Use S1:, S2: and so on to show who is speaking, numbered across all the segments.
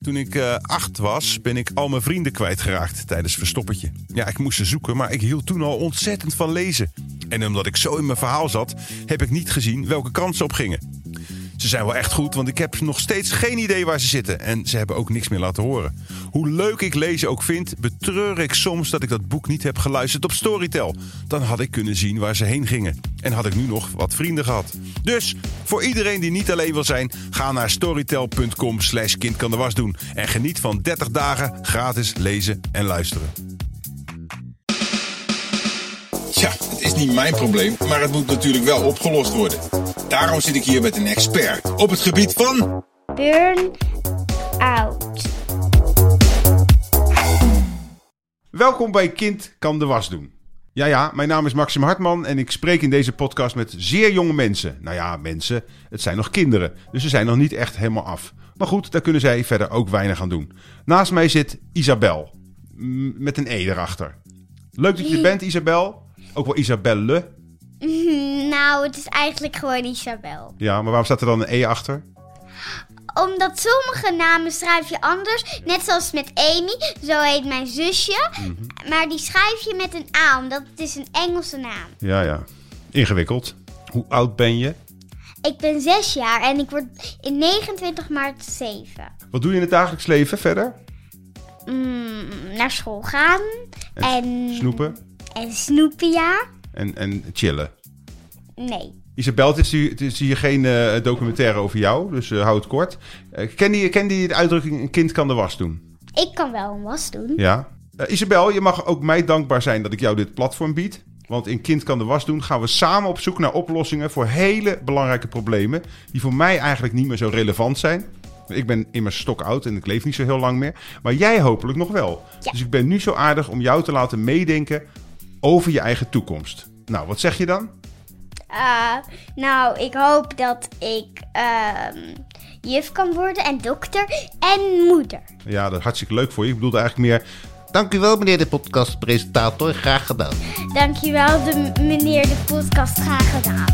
S1: Toen ik eh, acht was, ben ik al mijn vrienden kwijtgeraakt tijdens Verstoppertje. Ja, ik moest ze zoeken, maar ik hield toen al ontzettend van lezen. En omdat ik zo in mijn verhaal zat, heb ik niet gezien welke kant ze op gingen. Ze zijn wel echt goed, want ik heb nog steeds geen idee waar ze zitten. En ze hebben ook niks meer laten horen. Hoe leuk ik lezen ook vind, betreur ik soms dat ik dat boek niet heb geluisterd op Storytel. Dan had ik kunnen zien waar ze heen gingen. En had ik nu nog wat vrienden gehad. Dus, voor iedereen die niet alleen wil zijn, ga naar storytel.com slash kind kan de was doen. En geniet van 30 dagen gratis lezen en luisteren.
S2: Ja, het is niet mijn probleem, maar het moet natuurlijk wel opgelost worden. Daarom zit ik hier met een expert op het gebied van.
S3: Burn out.
S1: Welkom bij Kind kan de was doen. Ja, ja, mijn naam is Maxim Hartman en ik spreek in deze podcast met zeer jonge mensen. Nou ja, mensen, het zijn nog kinderen, dus ze zijn nog niet echt helemaal af. Maar goed, daar kunnen zij verder ook weinig aan doen. Naast mij zit Isabel, m, met een E erachter. Leuk dat je er bent, Isabel. Ook wel Isabelle.
S3: Nou, het is eigenlijk gewoon Isabel.
S1: Ja, maar waarom staat er dan een E achter?
S3: Omdat sommige namen schrijf je anders. Net zoals met Amy, zo heet mijn zusje. Maar die schrijf je met een A, omdat het is een Engelse naam.
S1: Ja, ja. Ingewikkeld. Hoe oud ben je?
S3: Ik ben zes jaar en ik word in 29 maart zeven.
S1: Wat doe je in het dagelijks leven verder?
S3: Mm, naar school gaan en,
S1: Snoepen
S3: en snoepen, ja.
S1: en, en chillen.
S3: Nee.
S1: Isabel, het is hier, het is hier geen eh, documentaire over jou, dus eh, hou het kort. Eh, kende, je, kende je de uitdrukking een kind kan de was doen?
S3: Ik kan wel een was doen.
S1: Ja. Eh, Isabel, je mag ook mij dankbaar zijn dat ik jou dit platform bied. Want in Kind kan de was doen gaan we samen op zoek naar oplossingen voor hele belangrijke problemen. Die voor mij eigenlijk niet meer zo relevant zijn. Ik ben immers stokoud en ik leef niet zo heel lang meer. Maar jij hopelijk nog wel.
S3: Ja.
S1: Dus ik ben nu zo aardig om jou te laten meedenken over je eigen toekomst. Nou, wat zeg je dan?
S3: Eh, nou, ik hoop dat ik ehm, juf kan worden en dokter en moeder.
S1: Ja, dat is hartstikke leuk voor je. Ik bedoelde eigenlijk meer,
S4: Dank u wel, meneer de podcastpresentator. Graag gedaan.
S3: Dankjewel, de m- meneer de podcast. Graag gedaan.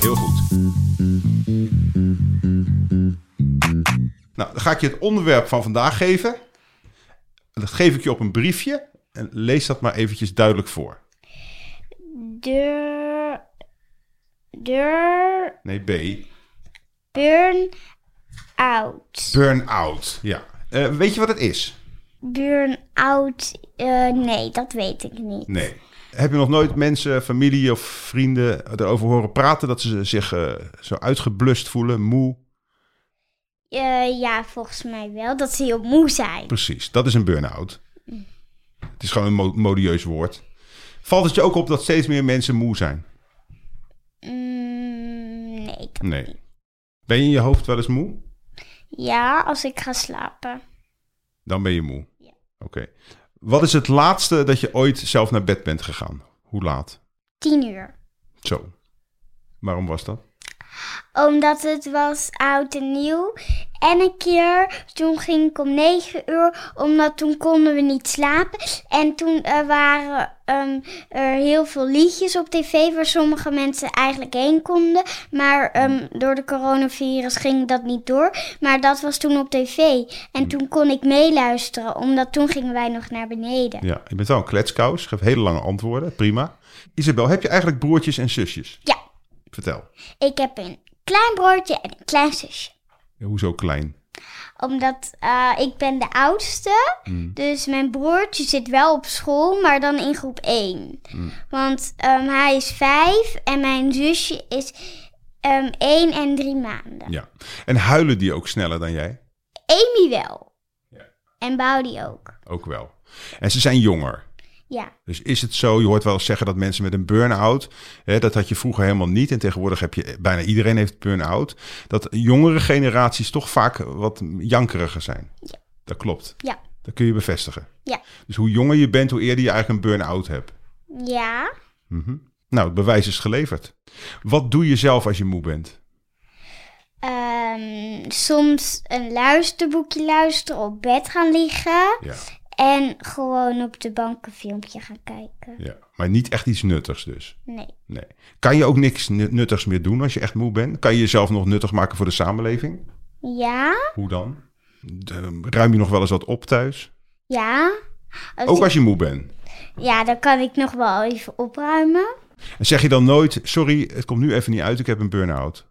S1: Heel goed. Nou, dan ga ik je het onderwerp van vandaag geven. Dat geef ik je op een briefje. En lees dat maar eventjes duidelijk voor.
S3: Deur. Deur.
S1: Nee, B.
S3: Burn out.
S1: Burn-out. Ja. Eh, weet je wat het is?
S3: Burn out. eh, nee, dat weet ik niet.
S1: Nee. Heb je nog nooit mensen, familie of vrienden erover horen praten dat ze zich eh, zo uitgeblust voelen, moe?
S3: Eh, ja, volgens mij wel. Dat ze heel moe zijn. Mm.
S1: Precies, dat is een burn-out. Het is gewoon een mo- modieus woord. Valt het je ook op dat steeds meer mensen moe zijn?
S3: Mm, nee. dat-
S1: Nee. Ben je in je hoofd wel eens moe?
S3: Ja, als ik ga slapen.
S1: Dan ben je moe.
S3: Ja.
S1: Oké. Wat is het laatste dat je ooit zelf naar bed bent gegaan? Hoe laat?
S3: Tien uur.
S1: Zo. Waarom was dat?
S3: Omdat het was oud en nieuw. En een keer, toen ging ik om negen uur, omdat toen konden we niet slapen. En toen eh, waren ehm, er heel veel liedjes op tv waar sommige mensen eigenlijk heen konden. Maar ehm, door de coronavirus ging dat niet door. Maar dat was toen op tv. En toen kon ik meeluisteren, omdat toen gingen wij nog naar beneden.
S1: Ja, je bent wel een kletskous. Geef hele lange antwoorden. Prima. Isabel, heb je eigenlijk broertjes en zusjes?
S3: Ja,
S1: Vertel.
S3: ik heb een klein broertje en een klein zusje.
S1: Hoezo klein?
S3: Omdat eh, ik ben de oudste. Dus mijn broertje zit wel op school, maar dan in groep 1. Want ehm, hij is 5 en mijn zusje is ehm 1 en 3 maanden.
S1: Ja. En huilen die ook sneller dan jij?
S3: Amy wel.
S1: Ja.
S3: En Boudi ook.
S1: Ook wel. En ze zijn jonger.
S3: Ja.
S1: Dus is het zo, je hoort wel eens zeggen dat mensen met een burn-out, hè, dat had je vroeger helemaal niet en tegenwoordig heb je, bijna iedereen heeft burn-out, dat jongere generaties toch vaak wat jankeriger zijn. Dat klopt.
S3: Ja.
S1: Dat kun je bevestigen.
S3: Ja.
S1: Dus hoe jonger je bent, hoe eerder je eigenlijk een burn-out hebt.
S3: Ja.
S1: Nou, het bewijs is geleverd. Wat doe je zelf als je moe bent?
S3: Ehm, soms een luisterboekje luisteren, op bed gaan liggen.
S1: Ja.
S3: En gewoon op de bank een filmpje gaan kijken.
S1: ja. Maar niet echt iets nuttigs dus.
S3: Nee.
S1: Nee. Kan je ook niks nu- nuttigs meer doen als je echt moe bent? Kan je jezelf nog nuttig maken voor de samenleving?
S3: Ja.
S1: Hoe dan? De- ruim je nog wel eens wat op thuis?
S3: Ja. Als
S1: Ook
S3: ik-
S1: als je moe bent.
S3: Ja, dan kan ik nog wel even opruimen.
S1: En zeg je dan nooit, sorry, het komt nu even niet uit, ik heb een burn-out.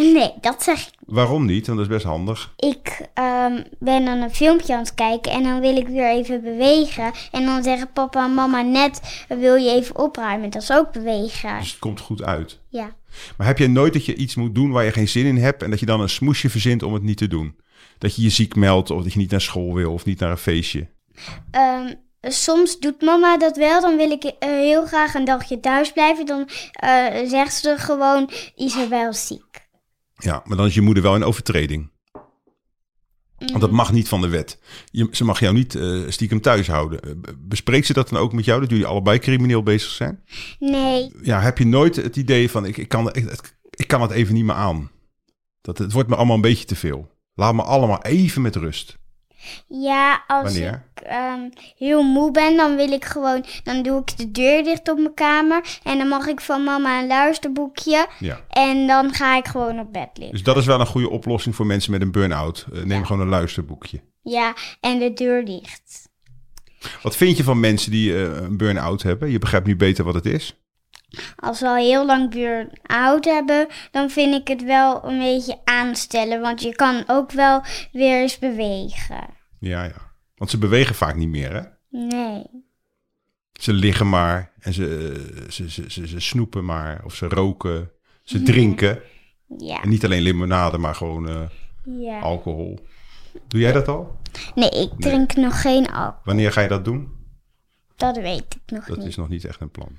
S3: Nee, dat zeg ik.
S1: Waarom niet? Want dat is best handig.
S3: Ik ehm, ben dan een filmpje aan het kijken en dan wil ik weer even bewegen. En dan zeggen papa en mama net, wil je even opruimen? Dat is ook bewegen.
S1: Dus het komt goed uit.
S3: Ja.
S1: Maar heb je nooit dat je iets moet doen waar je geen zin in hebt en dat je dan een smoesje verzint om het niet te doen? Dat je je ziek meldt of dat je niet naar school wil of niet naar een feestje.
S3: Ehm, soms doet mama dat wel. Dan wil ik eh, heel graag een dagje thuis blijven. Dan eh, zegt ze gewoon, Isabel is ziek.
S1: Ja, maar dan is je moeder wel in overtreding. Want dat mag niet van de wet. Je, ze mag jou niet eh, stiekem thuis houden. Eh, b- Bespreekt ze dat dan ook met jou, dat jullie allebei crimineel bezig zijn?
S3: Nee,
S1: Ja, heb je nooit het idee van, ik, ik, kan, ik, het- ik kan het even niet meer aan. Dat, het wordt me allemaal een beetje te veel. Laat me allemaal even met rust.
S3: ja, als
S1: Wanneer?
S3: ik ehm, heel moe ben, dan wil ik gewoon... Dan doe ik de deur dicht op mijn kamer. En dan mag ik van mama een luisterboekje.
S1: Ja.
S3: En dan ga ik gewoon op bed liggen.
S1: Dus dat is wel een goede oplossing voor mensen met een burn-out. Eh, neem gewoon een luisterboekje.
S3: Ja, en de deur dicht.
S1: Wat vind je van mensen die eh, een burn-out hebben? Je begrijpt nu beter wat het is.
S3: Als we al heel lang burn-out hebben, dan vind ik het wel een beetje aanstellen. Want je kan ook wel weer eens bewegen.
S1: Ja, ja. Want ze bewegen vaak niet meer, hè?
S3: Nee.
S1: Ze liggen maar en ze, eh, ze, ze, ze, ze snoepen maar of ze roken. Ze drinken.
S3: Ja.
S1: En niet alleen limonade, maar gewoon eh,
S3: ja.
S1: alcohol. Doe jij dat al?
S3: Nee, ik drink nog geen alcohol.
S1: Wanneer ga je dat doen?
S3: Dat weet ik nog
S1: Dat
S3: niet.
S1: is nog niet echt een plan.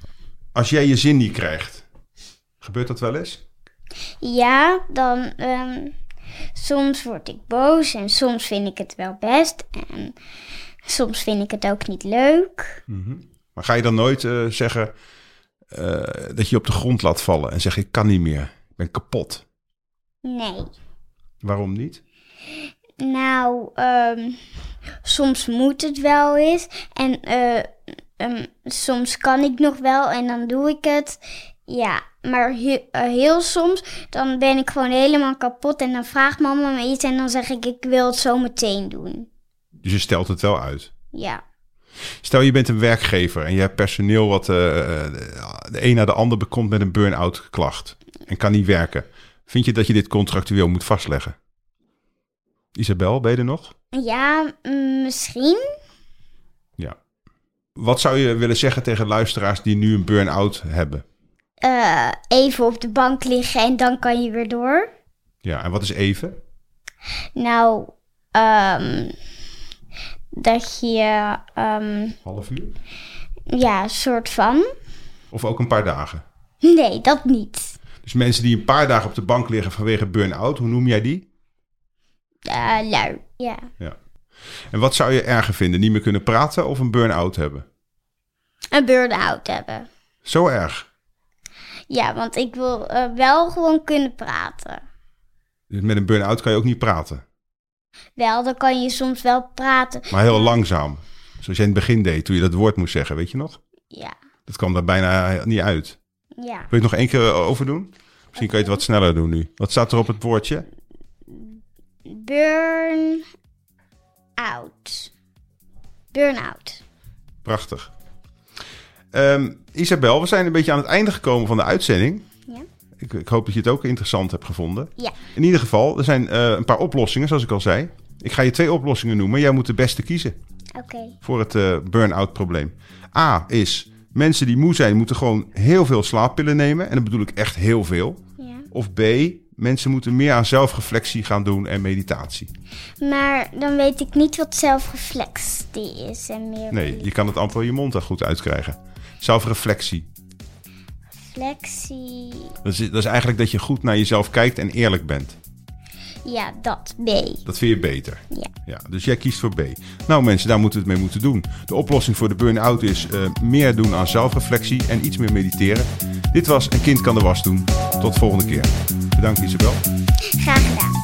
S1: Als jij je zin niet krijgt, gebeurt dat wel eens?
S3: Ja, dan. ehm, soms word ik boos en soms vind ik het wel best. En soms vind ik het ook niet leuk.
S1: Maar ga je dan nooit eh, zeggen eh, dat je je op de grond laat vallen en zeggen: Ik kan niet meer, ik ben kapot?
S3: Nee.
S1: Waarom niet?
S3: Nou, ehm, soms moet het wel eens. En eh, ehm, soms kan ik nog wel en dan doe ik het. Ja, maar he- eh, heel soms dan ben ik gewoon helemaal kapot. En dan vraagt mama me iets en dan zeg ik, ik wil het zo meteen doen.
S1: Dus je stelt het wel uit.
S3: Ja.
S1: Stel je bent een werkgever en je hebt personeel wat eh, eh, de een na de ander bekomt met een burn-out klacht en kan niet werken. Vind je dat je dit contractueel moet vastleggen? Isabel, ben je er nog?
S3: Ja, mm, misschien.
S1: Ja. Wat zou je willen zeggen tegen luisteraars die nu een burn-out hebben?
S3: Eh, even op de bank liggen en dan kan je weer door.
S1: Ja, en wat is even?
S3: Nou, ehm, dat je, ehm,
S1: Half uur?
S3: ja, soort van.
S1: Of ook een paar dagen?
S3: Nee, dat niet.
S1: Dus mensen die een paar dagen op de bank liggen vanwege burn-out, hoe noem jij die?
S3: Eh lui. Ja.
S1: Ja. En wat zou je erger vinden? Niet meer kunnen praten of een burn-out hebben?
S3: Een burn-out hebben.
S1: Zo erg.
S3: Ja, want ik wil eh, wel gewoon kunnen praten.
S1: Dus met een burn-out kan je ook niet praten.
S3: Wel, dan kan je soms wel praten.
S1: Maar heel langzaam. Zoals jij in het begin deed, toen je dat woord moest zeggen, weet je nog?
S3: Ja,
S1: Dat kwam daar bijna niet uit.
S3: ja.
S1: Wil je het nog één keer over doen? Misschien kan je het wat sneller doen nu. Wat staat er op het woordje?
S3: Burn-out. Burn-out.
S1: Prachtig. Ehm, Isabel, we zijn een beetje aan het einde gekomen van de uitzending.
S3: Ja.
S1: Ik, ik hoop dat je het ook interessant hebt gevonden.
S3: Ja.
S1: In ieder geval, er zijn eh, een paar oplossingen, zoals ik al zei. Ik ga je twee oplossingen noemen. Jij moet de beste kiezen.
S3: Oké.
S1: voor het eh, burn-out probleem. A is, mensen die moe zijn moeten gewoon heel veel slaappillen nemen. En dat bedoel ik echt heel veel.
S3: Ja.
S1: Of B, mensen moeten meer aan zelfreflectie gaan doen en meditatie.
S3: Maar dan weet ik niet wat zelfreflectie is en meer
S1: Nee, je kan het amper je mond daar goed uitkrijgen. Zelfreflectie.
S3: reflectie.
S1: Dat is, dat is eigenlijk dat je goed naar jezelf kijkt en eerlijk bent.
S3: Ja, dat. B.
S1: Dat vind je beter.
S3: Ja.
S1: Ja, dus jij kiest voor B. Nou mensen, daar moeten we het mee moeten doen. De oplossing voor de burn-out is eh, meer doen aan zelfreflectie en iets meer mediteren. Dit was Een kind kan de was doen. Tot volgende keer. Bedankt Isabel.
S3: Graag gedaan.